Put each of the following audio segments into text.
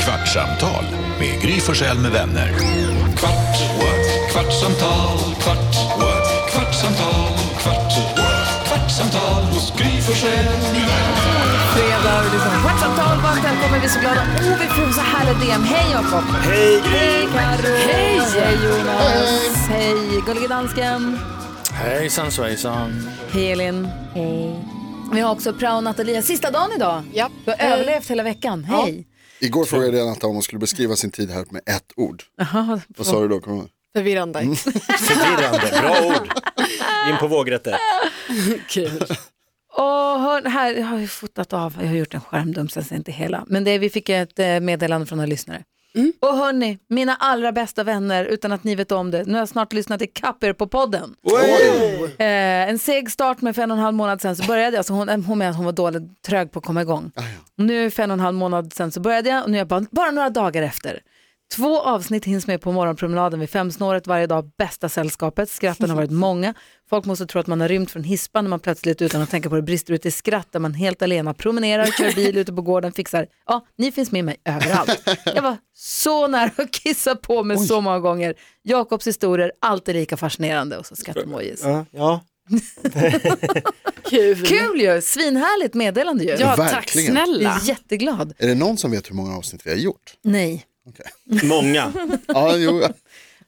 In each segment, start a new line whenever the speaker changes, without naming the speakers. kvartsamtal med Gry Forssell med vänner. Kvart, what? kvartsamtal, kvart, what? kvartsamtal, kvart, what? kvartsamtal hos Gry Forssell med vänner.
fredag och lyssnar på Kvartsamtal. Varmt välkommen, vi är så glada. Oh, vi får så härliga DM. Hej Jakob! Hej Gry! Hej Carro! Hej! Jonas! Hej, Gullige Dansken!
Hejsan svejsan.
Hej Elin! Hej! Vi har också prao Natalia, sista dagen idag.
Ja.
Du har
Eh.
överlevt hela veckan. Hej!
Igår frågade jag Natta om hon skulle beskriva sin tid här med ett ord. Vad sa du då? Kommer du ihåg?
Förvirrande.
Förvirrande, bra ord. In på vågrätter.
Och hör, här, jag har ju fotat av, jag har gjort en skärmdump så jag ser inte hela. Men det, vi fick ett eh, meddelande från några lyssnare. Och hörni, mina allra bästa vänner, utan att ni vet om det, nu har jag snart lyssnat i kapp er på podden.
Oj!
Eh, en seg start med för en och en halv månad sen så började jag, så hon, eh, hon menar att hon var dålig, trög på att komma igång. Nu för en och en halv månad sen så började jag och nu är jag bara, bara några dagar efter. Två avsnitt hinns med på morgonpromenaden vid femsnåret varje dag, bästa sällskapet, skratten har varit många. Folk måste tro att man har rymt från hispan när man plötsligt utan att tänka på det brister ut i skratt där man helt alena promenerar, kör bil ute på gården, fixar. Ja, ni finns med mig överallt. Jag var så nära att kissa på mig så många gånger. Jakobs historier, alltid lika fascinerande och så skrattemojis.
Ja.
Kul.
Kul ju, svinhärligt meddelande ju.
Ja, tack
Verkligen.
Jag
snälla.
är jätteglad.
Är det någon som vet hur många avsnitt vi har gjort?
Nej.
Många,
Ja, jo.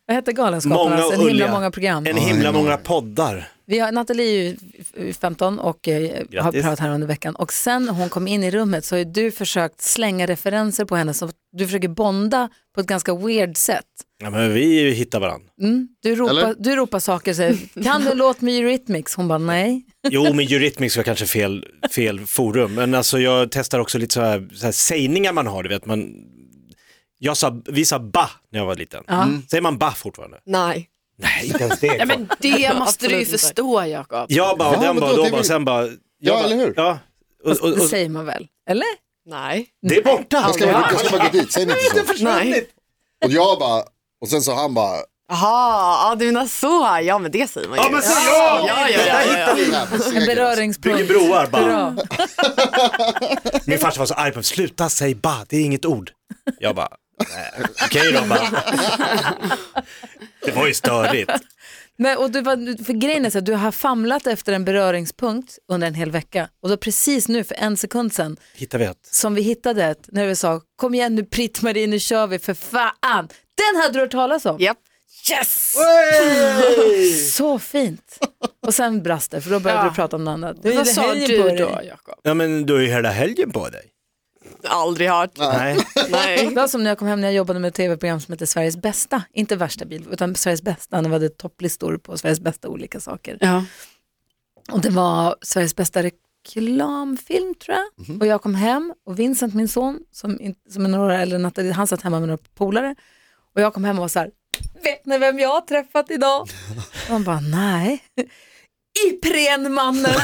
Vad hette Galenskaparna?
Många
Alltså, en himla
ulliga.
många program.
en himla många poddar.
Vi har, Nathalie är ju f- f- 15 och eh, har
Grattis.
pratat här under veckan. Och sen hon kom in i rummet så har ju du försökt slänga referenser på henne. Så du försöker bonda på ett ganska weird sätt.
Ja, men vi hittar varandra.
Mm. Du, ropar,
Eller?
du ropar saker och säger, kan du en låt med Eurythmics? Hon bara nej.
Jo, men Eurythmics var kanske fel, fel forum. Men alltså jag testar också lite så här, så här sägningar man har. Du vet, man, jag sa, vi sa ba när jag var liten. Säger man ba fortfarande?
Nej.
Nej, inte ens det.
Mm. Ja, men det måste du
Absolut
ju
inte.
förstå Jakob.
Jag bara,
Ja,
och den
men
bara,
då
då
tycker
bara,
vi-
sen bara. jag
Ja,
bara,
eller hur?
Ja. Och, och,
Det
och,
säger man väl? Eller?
Nej.
det är borta.
Jag ska, bara- jag ska bara gå dit, säg inte så.
Nej.
Och jag bara, och sen så han bara,
Jaha, ja, du menar så. här. Ja men det säger man ju.
Ja, men säg ja!
ja, ja, ja, ja, ja.
"Den här på
En
segern."
beröringspunkt.
Bygger broar bara.
Bra.
Min farsa var så arg på mig, sluta säg ba, det är inget ord. Jag bara, "Nej, okej då bara. Det var ju störigt.
Nej, och du var, för grejen är så att du har famlat efter en beröringspunkt under en hel vecka och då precis nu för en sekund sedan
Hittar vi ett?
som vi hittade ett när vi sa kom igen nu Britt-Marie nu kör vi för fan. Den hade du hört talas om.
Japp.
Yes! Så fint. Och sen brast det för då började
Ja.
du prata om något annat. Nu
Men
är
vad
det
sa
helgen
du
på
då
dig.
Jakob?
Ja men du har ju hela helgen på dig.
Aldrig hört.
Nej.
Det
Nej.
var som när jag kom hem när jag jobbade med ett tv-program som hette Sveriges bästa, inte värsta bil, utan Sveriges bästa, när vi hade topplistor på Sveriges bästa olika saker.
Ja.
Och det var Sveriges bästa reklamfilm tror jag.
Mhm.
Och jag kom hem och Vincent, min son, som, in- som är några år äldre än Nathalie, han satt hemma med några polare. Och jag kom hem och var så här, vet ni vem jag har träffat idag? Och han bara, nej. Iprenmannen.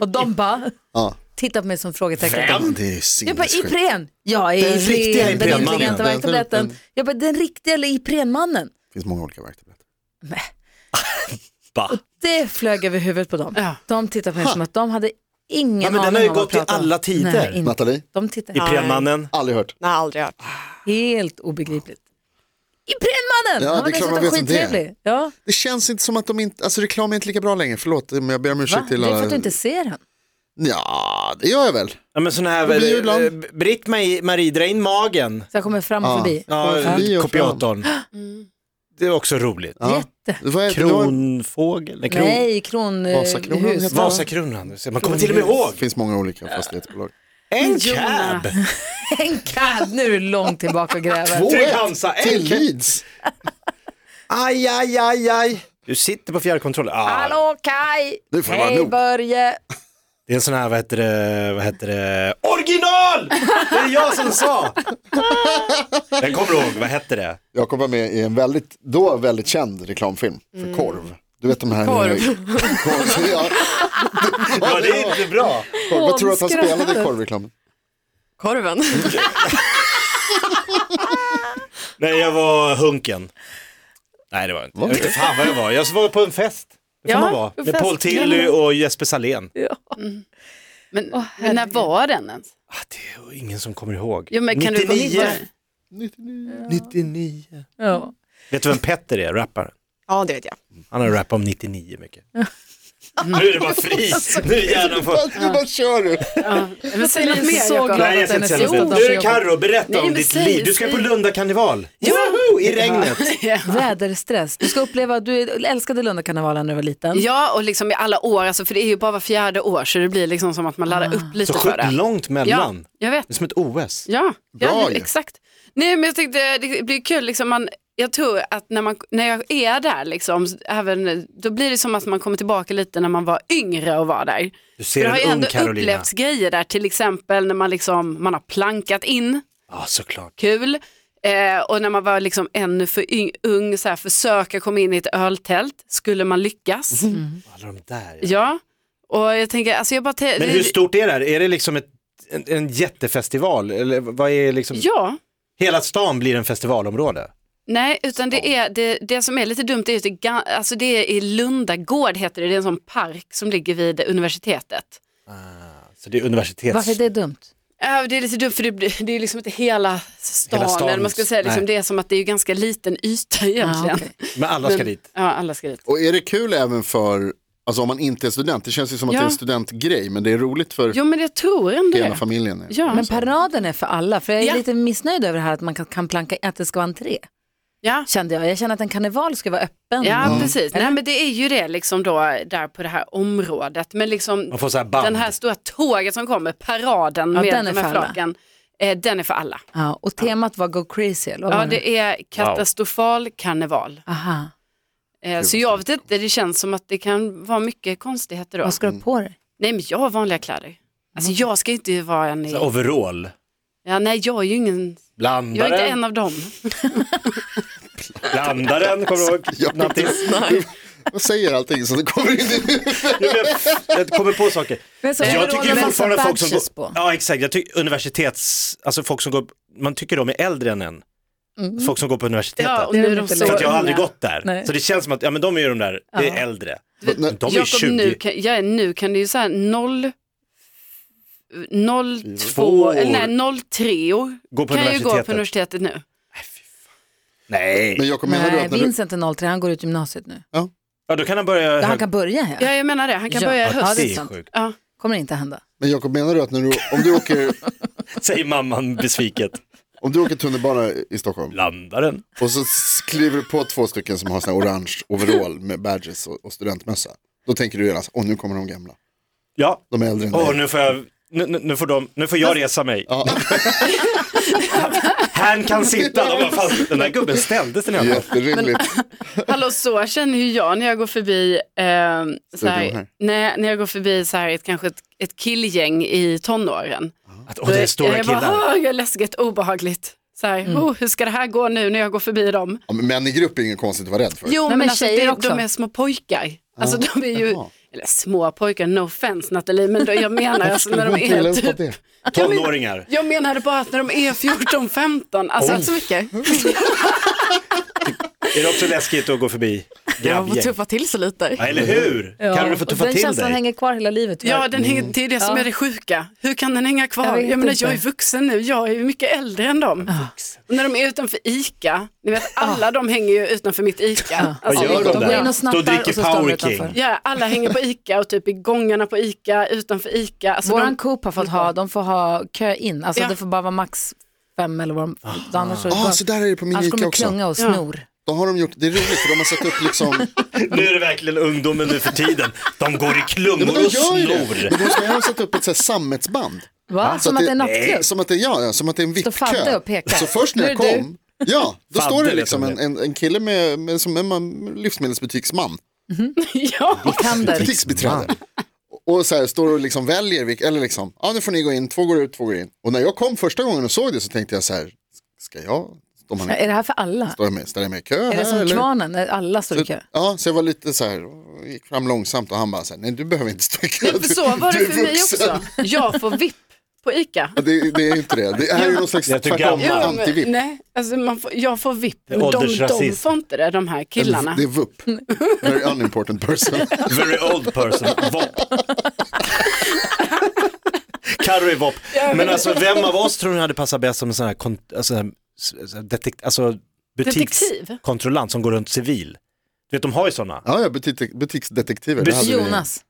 och de bara
Ja.
tittade på mig som frågetecken.
Ja, men det är
Jag bara,
sinnessjukt.
Ipren! Ja,
Den riktiga
Ipren, den
Iprenmannen.
intelligenta
Den-
värktabletten.
den-
Jag bara, den riktiga eller Iprenmannen?
Det finns många olika verktyg.
Nej.
Ba.
Det flög över huvudet på dem.
Ja.
De tittade på mig som att de hade ingen
Ja, men den
aning
har ju
om vad
gått i
jag pratade om.
alla tider.
Nej, inte.
Nathalie,
De tittar
I Premannen.
aldrig hört.
Nej, aldrig hört.
helt obegripligt. I Premannen!
Ja,
Han var
det är klart man
dessutom
vet vem det är.
skittrevlig. Ja.
Det känns inte som att de inte, alltså reklam är inte lika bra längre, förlåt, men jag ber om
Va?
ursäkt
Det är
till
för att du inte ser den.
Ja, det gör jag väl.
Ja men sån här,
Det blir ju ibland.
eh, Britt-Marie, Marie, dra in magen.
Så jag kommer fram och
Ja.
förbi.
Ja,
Förbi och
kopiatorn. Det är också roligt.
Ja.
Jätte.
Det var, det var,
Kronfågel? Nej, kron...
Nej, kron...
Vasakronan
hus.
heter det.
Vasakronan. Man kommer till och med ihåg.
det finns många olika fastighetsbolag.
En cab.
En cab, nu är du långt tillbaka och gräver.
Två
Trygg
ett
Hansa,
till
enkel.
Leeds.
Aj, aj, aj, aj. Du sitter på fjärrkontrollen. Ah.
Hallå Kaj!
Nu får det vara
Hej
nog.
Börje!
Det är en sån här, vad heter det, vad heter det, original! Det är jag som sa! Jag kommer ihåg, vad hette det?
Jakob var med i en väldigt, då väldigt känd reklamfilm för
Mm.
korv. Du vet de här...
Korv.
korv ja.
Ja, det är inte bra.
korv. Vad tror du att han
Hånskrattet.
spelade i korvreklamen?
Korven.
Nej, jag var hunken. Nej, det var jag inte. Jag vet inte fan vad jag var. Jag var på en fest. Det
Ja,
får man vara.
en
Med
fest.
Paul Tilly och Jesper Salén.
Men, men när var den ens?
Ah, det är ju ingen som kommer ihåg.
Jo, men kan du
99.
komma-
99.
99.
Ja.
Vet du vem Petter är, rapparen?
Ja, det vet jag.
Han har rappat om 99 mycket. Nu är det bara fri, nu är hjärnan full.
Vad- Nu bara kör du.
Men säg något mer,
så
Jakob.
glad.
Nej, jag ska inte säga
Jo,
något.
de
Nu är
får
det
jobba.
Carro, berätta
Nej,
om
men
ditt
säg,
liv. Du ska
säg.
på Lunda karneval. Woho! I regnet.
Väderstress. Du ska uppleva, du älskade Lundakarnevalen när du var liten.
Ja, och liksom i alla år, alltså, för det är ju bara var fjärde år, så det blir liksom som att man laddar upp lite
Så
för
sjukt
det.
långt
Ja,
mellan.
jag vet.
Det är som ett OS.
Ja,
Bra
ja
ju.
exakt. Nej, men jag tyckte det blir kul, liksom man, jag tror att när, man, när jag är där, liksom, även, då blir det som att man kommer tillbaka lite när man var yngre och var där.
Du
För
ser
det har ju
en ung
ändå
Carolina.
upplevts grejer där, till exempel när man, liksom, man har plankat in,
Ja, såklart.
kul. Eh, och när man var liksom ännu för yng, ung, så här, försöka komma in i ett öltält, skulle man lyckas?
Mm. Alla de där. ja.
Ja, och jag tänker, alltså jag bara... te-
Men
det-
hur stort är det här? Är det liksom ett, en, en jättefestival? Eller vad är liksom?
Ja,
Hela stan blir en festivalområde.
nej, utan det är det, det som är lite dumt är att det, ga- alltså det är i Lundagård heter det, det är en sån park som ligger vid universitetet.
Ah, Så det är universitets...
Varför är det dumt?
Ja, Det är lite dumt för det, blir- det är liksom inte hela stan,
Hela stan,
eller man ska säga, liksom,
nej.
det är som att det är ju ganska liten yta egentligen.
okej.
Men alla ska dit.
Ja, alla ska dit.
Och är det kul även för, alltså om man inte är student, det känns ju som att
Ja.
det är en studentgrej, men det är roligt för
Jo men jag tror ändå
hela
det.
familjen.
Ja.
Men paraden är för alla, för jag är
Ja.
lite missnöjd över det här att man kan, kan planka, att det ska vara entré.
Ja.
Kände jag. Jag känner att en karneval ska vara öppen.
Ja, precis. Nej, men det är ju det liksom då, där på det här området. Men liksom
Man får så här band.
den här stora tåget som kommer, paraden
Ja,
med
den är
de här
för alla.
flaken, eh, den är för alla.
Ja, och temat var Go Crazy, eller vad
Ja,
var det?
det är katastrofal karneval.
Aha.
Eh, så jag vet inte, det känns som att det kan vara mycket konstigheter då.
Vad ska du ha på dig?
Nej, men jag har vanliga kläder. Alltså jag ska inte vara en...
Så här
I...
Overall.
Ja, nej, jag är ju ingen... Jag är inte
Blandaren.
en av dem.
Blandaren, kommer du ihåg? Nattis?
Vad säger allting som kommer in i
Jo, men jag- Jag kommer på saker.
Men så
jag
overall
tycker ju
med
fortfarande
massa
folk som
badges
går,
på.
ja exakt, jag tycker universitets, alltså folk som går, man tycker de är äldre än en. Folk som går på universitetet.
Ja, och
Det är
nu är
väl
de
inte
så
För att jag har
unga.
aldrig gått där.
Nej.
Så det känns som att, ja men de är ju de där, det är äldre. Men de är ju
Jakob,
20.
nu kan, ja, nu kan det ju så här 0, 0,
Två
2, nej 0, 3
Gå på
kan ju gå
universitetet.
på universitetet nu.
Nej.
Men Jakob, menar du
Nej,
att när du...
Vincent är 03, han går ut gymnasiet nu.
Ja då kan han börja,
Han kan börja här.
Ja, jag menar det, han kan
Ja.
börja i
Ja,
höst.
det
det
är
är
sant.
sjukt.
Ja.
Kommer inte hända.
Men Jakob, menar du att när du, om du åker,
Säger mamman besviket.
om du åker tunnelbana i Stockholm
Blandaren.
och så s- kliver du på två stycken som har sån här orange overall med badges och, och studentmössa, då tänker du genast, åh nu kommer de gamla,
Ja.
de är äldre än
Åh
dig.
nu får jag, nu, nu- nu får de, nu får jag resa mig.
Ja.
Han kan sitta. De bara, fan, den där gubben ställde sig ner.
Jätterimligt.
Hallå, så känner ju jag när jag går förbi, ehm, så
Studion här.
här, när, när jag går förbi så här, ett, kanske ett, ett killgäng i tonåren.
Att, åh, det är stora
jag bara,
killar. Mm.
"Åh, jag är läskigt, obehagligt. Så här, oh, hur ska det här gå nu när jag går förbi dem?
Ja, men män i grupp är inget konstigt att vara rädd för.
Jo,
men
men, alltså,
tjejer
det,
också.
de är små pojkar. Alltså de är ju,
Jaha.
eller små pojkar, no offense Nathalie, men då, jag menar alltså när de
Killar
är
på
typ,
det.
Tonåringar.
jag menade bara att när de är 14-15, alltså
Så mycket.
Är det också läskigt att gå förbi
Jag får
grabbgäng?
tuffa till så lite.
Ja, eller hur? Kan du få
och
tuffa
den
till
känslan
dig?
hänger kvar hela livet. tyvärr.
Ja, den hänger, det är det som är det sjuka. Hur kan den hänga kvar?
Mm. Jag
Jag,
vet
menar,
inte.
jag är vuxen nu, jag är ju mycket äldre än dem. Och när de är utanför ICA, ni vet alla de hänger ju utanför mitt ICA. Alltså,
Vad gör de
går in
där?
och snattar
De
och så
dricker
står de
Power
utanför.
King.
Ja, alla hänger på ICA och typ i gångarna på ICA, utanför ICA. Alltså,
Våran
de,
Coop har fått ha, de får ha kö in, alltså
Ja.
det får bara vara max fem eller vad de, annars, så,
Ja, så där är det på min
annars
Ica
kommer
också.
klunga och snor.
Då har de gjort, det är roligt för de har satt upp liksom,
Nu är det verkligen ungdomen nu för tiden. De går i
Nej, men
klungor
de
och
gör ju det.
snor.
Men de ska ju ha satt upp ett så här sammetsband.
Va?
Så
Som att det är nattklubb?
Som att det, ja, ja, som att det är en
Står
VIP-kö.
Fadde och pekar.
Så först när jag
Nu är det
kom, ja, då
Fadde
står det
vet
liksom
om
en,
det.
en, en kille med, med, som en man- livsmedelsbutiksman,
ja.
Vikander.
butiksbiträde. Och så här, står och liksom väljer, vilk- eller liksom, ja nu får ni gå in, två går ut, två går in. Och när jag kom första gången och såg det så tänkte jag så här, ska jag, står, man,
Är det här för alla?
står jag med, ställer jag mig i kö
Är
här
det som
eller?
kvarnen, när alla står i kö?
Ja, så jag var lite så här, och gick fram långsamt och han bara så här, nej du behöver inte stå i kö.
Nej, för så var
du
det
är
för mig
vuxen.
också. Jag får VIP på ICA.
Ja, Det, det är ju inte det. Det här är ju någon slags
Jag tycker
tvärtom,
gammal.
anti-VIP.
nej, alltså man får, jag får VIP. Men De, de
Åldersrasism.
får inte det, de här killarna.
Det är VUP. Very unimportant person.
Very old person. Vop. Carro är vopp. Men alltså vem av oss tror ni hade passat bäst som en sån här, kont- alltså, sån här s- så här detekt- alltså,
Detektiv?
butikskontrollant som går runt civil? Du vet de har ju sådana.
Ja, ja butik, butiksdetektiver. det
Butik-
hade vi.
Jonas.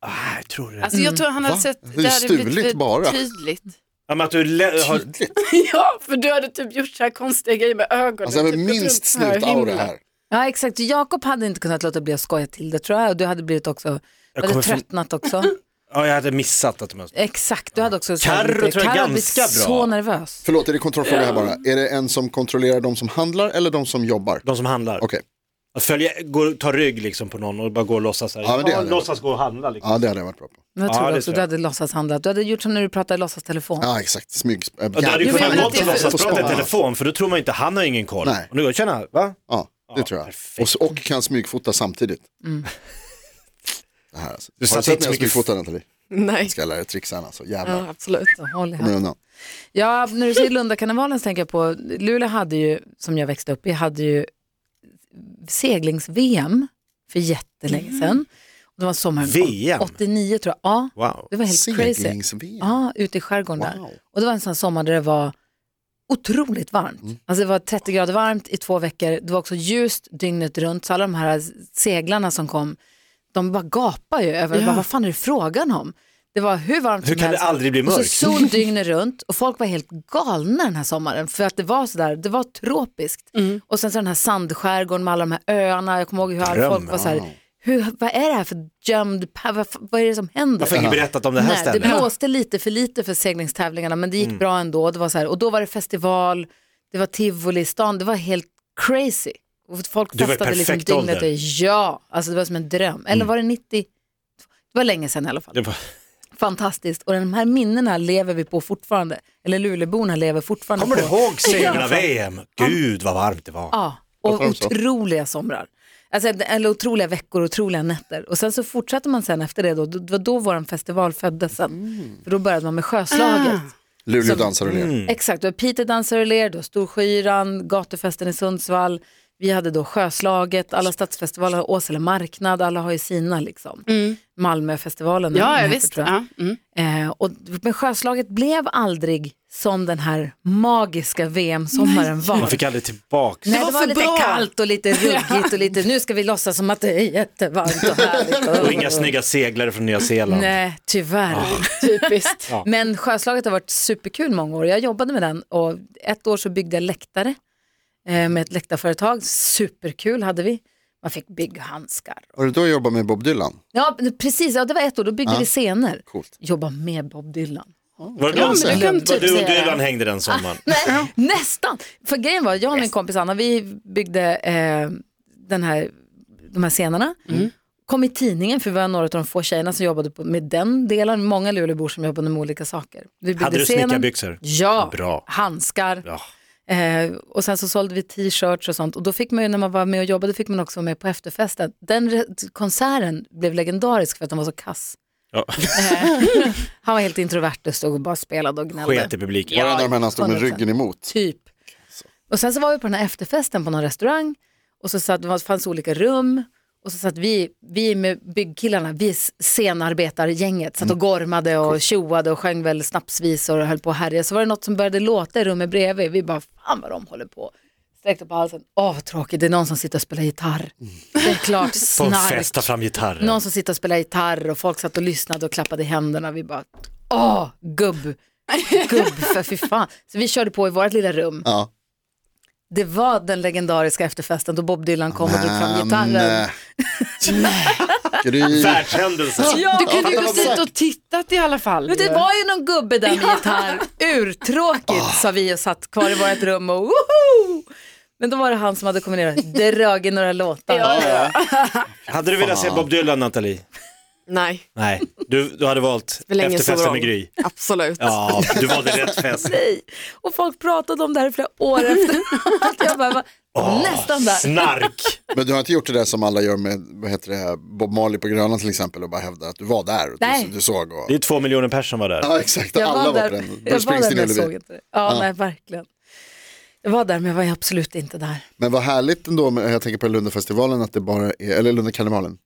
Ah, jag tror det.
Alltså jag tror han hade
Va?
sett,
Det är stuligt
för
bara.
tydligt.
Ja, men att du lä- har,
Tydligt.
ja, för du hade typ gjort så här konstiga grejer med ögonen.
Alltså jag har
typ gått runt
minst
så här och
snutaura
himlat.
här.
Ja exakt, Jakob hade inte kunnat låta bli att skoja till det tror jag och du hade blivit också, du hade
kommer från-
tröttnat också.
ja, jag hade missat att de har...
Exakt, du hade också så
Carro
här lite-
tror jag
Carro hade
ganska
blivit
bra.
så nervös.
Förlåt, är det kontrollfråga här bara? Är det en som kontrollerar de som handlar eller de som jobbar?
De som handlar.
Okej,
Att följa, gå, ta rygg liksom på någon och bara gå och låtsas. Så här.
Ja, men det hade jag
låtsas gå och handla liksom.
ja det hade jag varit bra på.
Men jag
Ja,
tror
det
också
tror
du
jag.
hade låtsashandlat, du hade gjort som när du pratade i låtsastelefon.
Ja exakt, smyg... äh,
Och du hade ju
Jo, men
kunnat
jag
gå
menar
till
att det är
låtsas
för-
prata i
Ja.
telefon för då tror man ju inte han har ingen koll.
Nej.
Och nu går jag tjena, va?
Ja, det tror jag.
perfekt.
Och, och kan smygfota samtidigt.
Mm.
Det här alltså.
Du
Har du
satte
sett
inte
när jag
så mycket-
smygfotar Nathalie?
Nej.
Ska jag lära dig trixen alltså, jävlar.
Ja, absolut.
Så håll i
Kommer du
hand.
undan?
Ja, när du säger Lundakarnevalen så tänker jag på, Luleå hade ju, som jag växte upp i, hade ju seglings-VM för jättelänge sedan. Det var sommaren
Mm. VM?
89 tror jag, ja.
Wow.
Det var helt crazy.
Seglings-VM.
Ja, ute i skärgården
Wow.
där. Och det var en sån sommar där det var otroligt varmt.
Mm.
Alltså det var 30 grader varmt i två veckor. Det var också ljust dygnet runt. Så alla de här seglarna som kom, de bara gapar ju över, bara, vad fan är det frågan om? Det var hur varmt
Hur
som
kan det
helst.
aldrig bli
Och
mörkt?
så sol dygnet runt och folk var helt galna den här sommaren för att det var sådär, det var tropiskt.
Mm.
Och sen så den här sandskärgården med alla de här öarna, jag kommer ihåg hur alla
Dröm,
folk var
ja.
såhär, hur, vad är det här för gömd, pa- vad, vad är det som händer?
Varför har ingen berättat om det här Mm.
Nej, det
stället?
blåste lite för lite för seglingstävlingarna men det gick bra ändå. Det var så här, och då var det festival, det var tivoli i stan, det var helt crazy. Och folk
Du var i
festade liksom
perfekt
dygnet
ålder. Mm.
och ja, alltså det var som en dröm. Eller var det 90? Det var länge sedan i alla fall.
Det var-
Fantastiskt. Och de här minnena lever vi på fortfarande. Eller Luleåborna lever fortfarande
Kommer du
på.
ihåg seglar-VM? Gud vad varmt det var.
Ja, och
Varför de så?
otroliga somrar. Alltså, eller otroliga veckor och otroliga nätter. Och sen så fortsatte man sen efter det då, det var då vår festival föddes sen.
Mm.
För då började man med
Ah.
sjöslaget.
Luleå
Som-
dansar och ler.
Exakt, du har Peter dansar och ler, du har Storskyran, gatufesten i Sundsvall, vi hade då Sjöslaget, alla stadsfestivaler har Åsele marknad, alla har ju sina liksom. Malmöfestivalen. den
Mm. Ja, ja
heter,
visst.
tror jag.
Ja, mm.
Eh, och, men Sjöslaget blev aldrig som den här magiska VM-sommaren var.
Man fick aldrig tillbaks.
Nej, det
var
var,
för
lite
bra.
kallt och lite ruggigt och lite, nu ska vi låtsas som att det är jättevarmt och härligt.
Och inga snygga seglare från Nya Zeeland.
Nej, tyvärr.
Typiskt.
Men Sjöslaget har varit superkul många år. Jag jobbade med den och ett år så byggde jag läktare eh, med ett läktarföretag. Superkul hade vi. Man fick bygga handskar.
Var det då jag jobbade med Bob Dylan?
Ja, precis. Ja, det var ett år. Då byggde vi scener.
Coolt.
Jobba med Bob Dylan.
Var det någon
men
som-
du kan
var
typ
du och
säga det.
Dylan hängde den sommaren?
Nej, nästan. För grejen var, jag och min kompis Anna, vi byggde eh, den här, de här scenerna.
Mm.
Kom i tidningen, för vi var några av de få tjejerna som jobbade på, med den delen. Många Luleåbor som jobbade med olika saker. Vi byggde
Hade du
scenen.
snickarbyxor?
Ja,
Bra.
handskar.
Ja.
Eh, och sen så sålde vi t-shirts och sånt. Och då fick man ju, när man var med och jobbade, fick man också vara med på efterfesten. Den re- konserten blev legendarisk för att den var så kass.
Ja.
Han var helt introvert och stod och bara spelade och gnällde.
Sket i publiken.
Var det när han stod med
100%.
ryggen emot?
Typ.
Alltså.
Och sen så var vi på den här efterfesten på någon restaurang och så satt, det fanns olika rum och så satt vi, vi med byggkillarna, vi s- scenarbetargänget, satt och
Mm.
gormade och tjoade och sjöng väl snapsvisor och höll på och härjade. Så var det något som började låta i rummet bredvid. Vi bara, fan vad de håller på. Sträckte på halsen, åh vad tråkigt, det är någon som sitter och spelar gitarr. Det är klart,
Mm. På en
snark.
fest, ta fram gitarren.
Någon som sitter och spelar gitarr och folk satt och lyssnade och klappade i händerna. Vi bara, åh, gubb, gubb för fy fan. Så vi körde på i vårt lilla rum.
Ja.
Det var den legendariska efterfesten då Bob Dylan kom och drog fram gitarren.
eh, Gry.
Världshändelse.
Du kunde ju
Ja,
gått dit
exakt.
och tittat i alla fall.
Men det var ju någon gubbe där med gitarr, urtråkigt sa vi och satt kvar i vårt rum och woho! Men då var det han som hade kommit ner och dragit några låtar.
Hade du velat se Bob Dylan, Nathalie?
Nej,
Nej, du, du hade valt
för länge så
efterfesten
bra.
med Gry.
Absolut.
Ja, du valde rätt fest.
Nej. Och folk pratade om det här i flera år efter. Jag bara, var nästan där.
Snark.
Men du har inte gjort det där som alla gör med vad heter det, Bob Marley på Grönan till exempel och bara hävdar att du var där och
Nej.
du, du såg. Och...
Det är två miljoner personer som var där.
Ja exakt, alla var på den.
jag
Bruce
var där
Springsteen
men jag
och
såg
Ullevi.
inte det. Ja, nej verkligen. Jag var där men jag var absolut inte där.
Men vad härligt ändå, med, jag tänker på Lundafestivalen, att det bara är, eller Lundakarnevalen,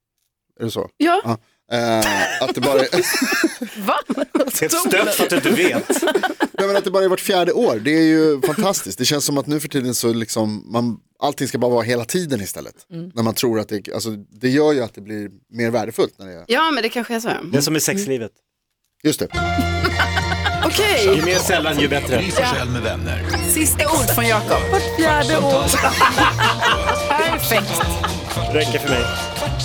är det så?
Ja.
Ja, Eh, att det bara är,
Va?
Det är ett stöd för att du inte vet.
nej, men att det bara är vart fjärde år, det är ju fantastiskt. Det känns som att nu för tiden så liksom, man, allting ska bara vara hela tiden istället.
Mm.
När man tror att det, alltså, det gör ju att det blir mer värdefullt när det är,
Ja, men det kanske är så.
Det är som i sexlivet.
just det.
Okej,
Ju mer sällan, ju bättre.
Gry Forssell med vänner.
sista ord från Jakob.
Fjärde år. Perfekt.
Räcker för mig.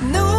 No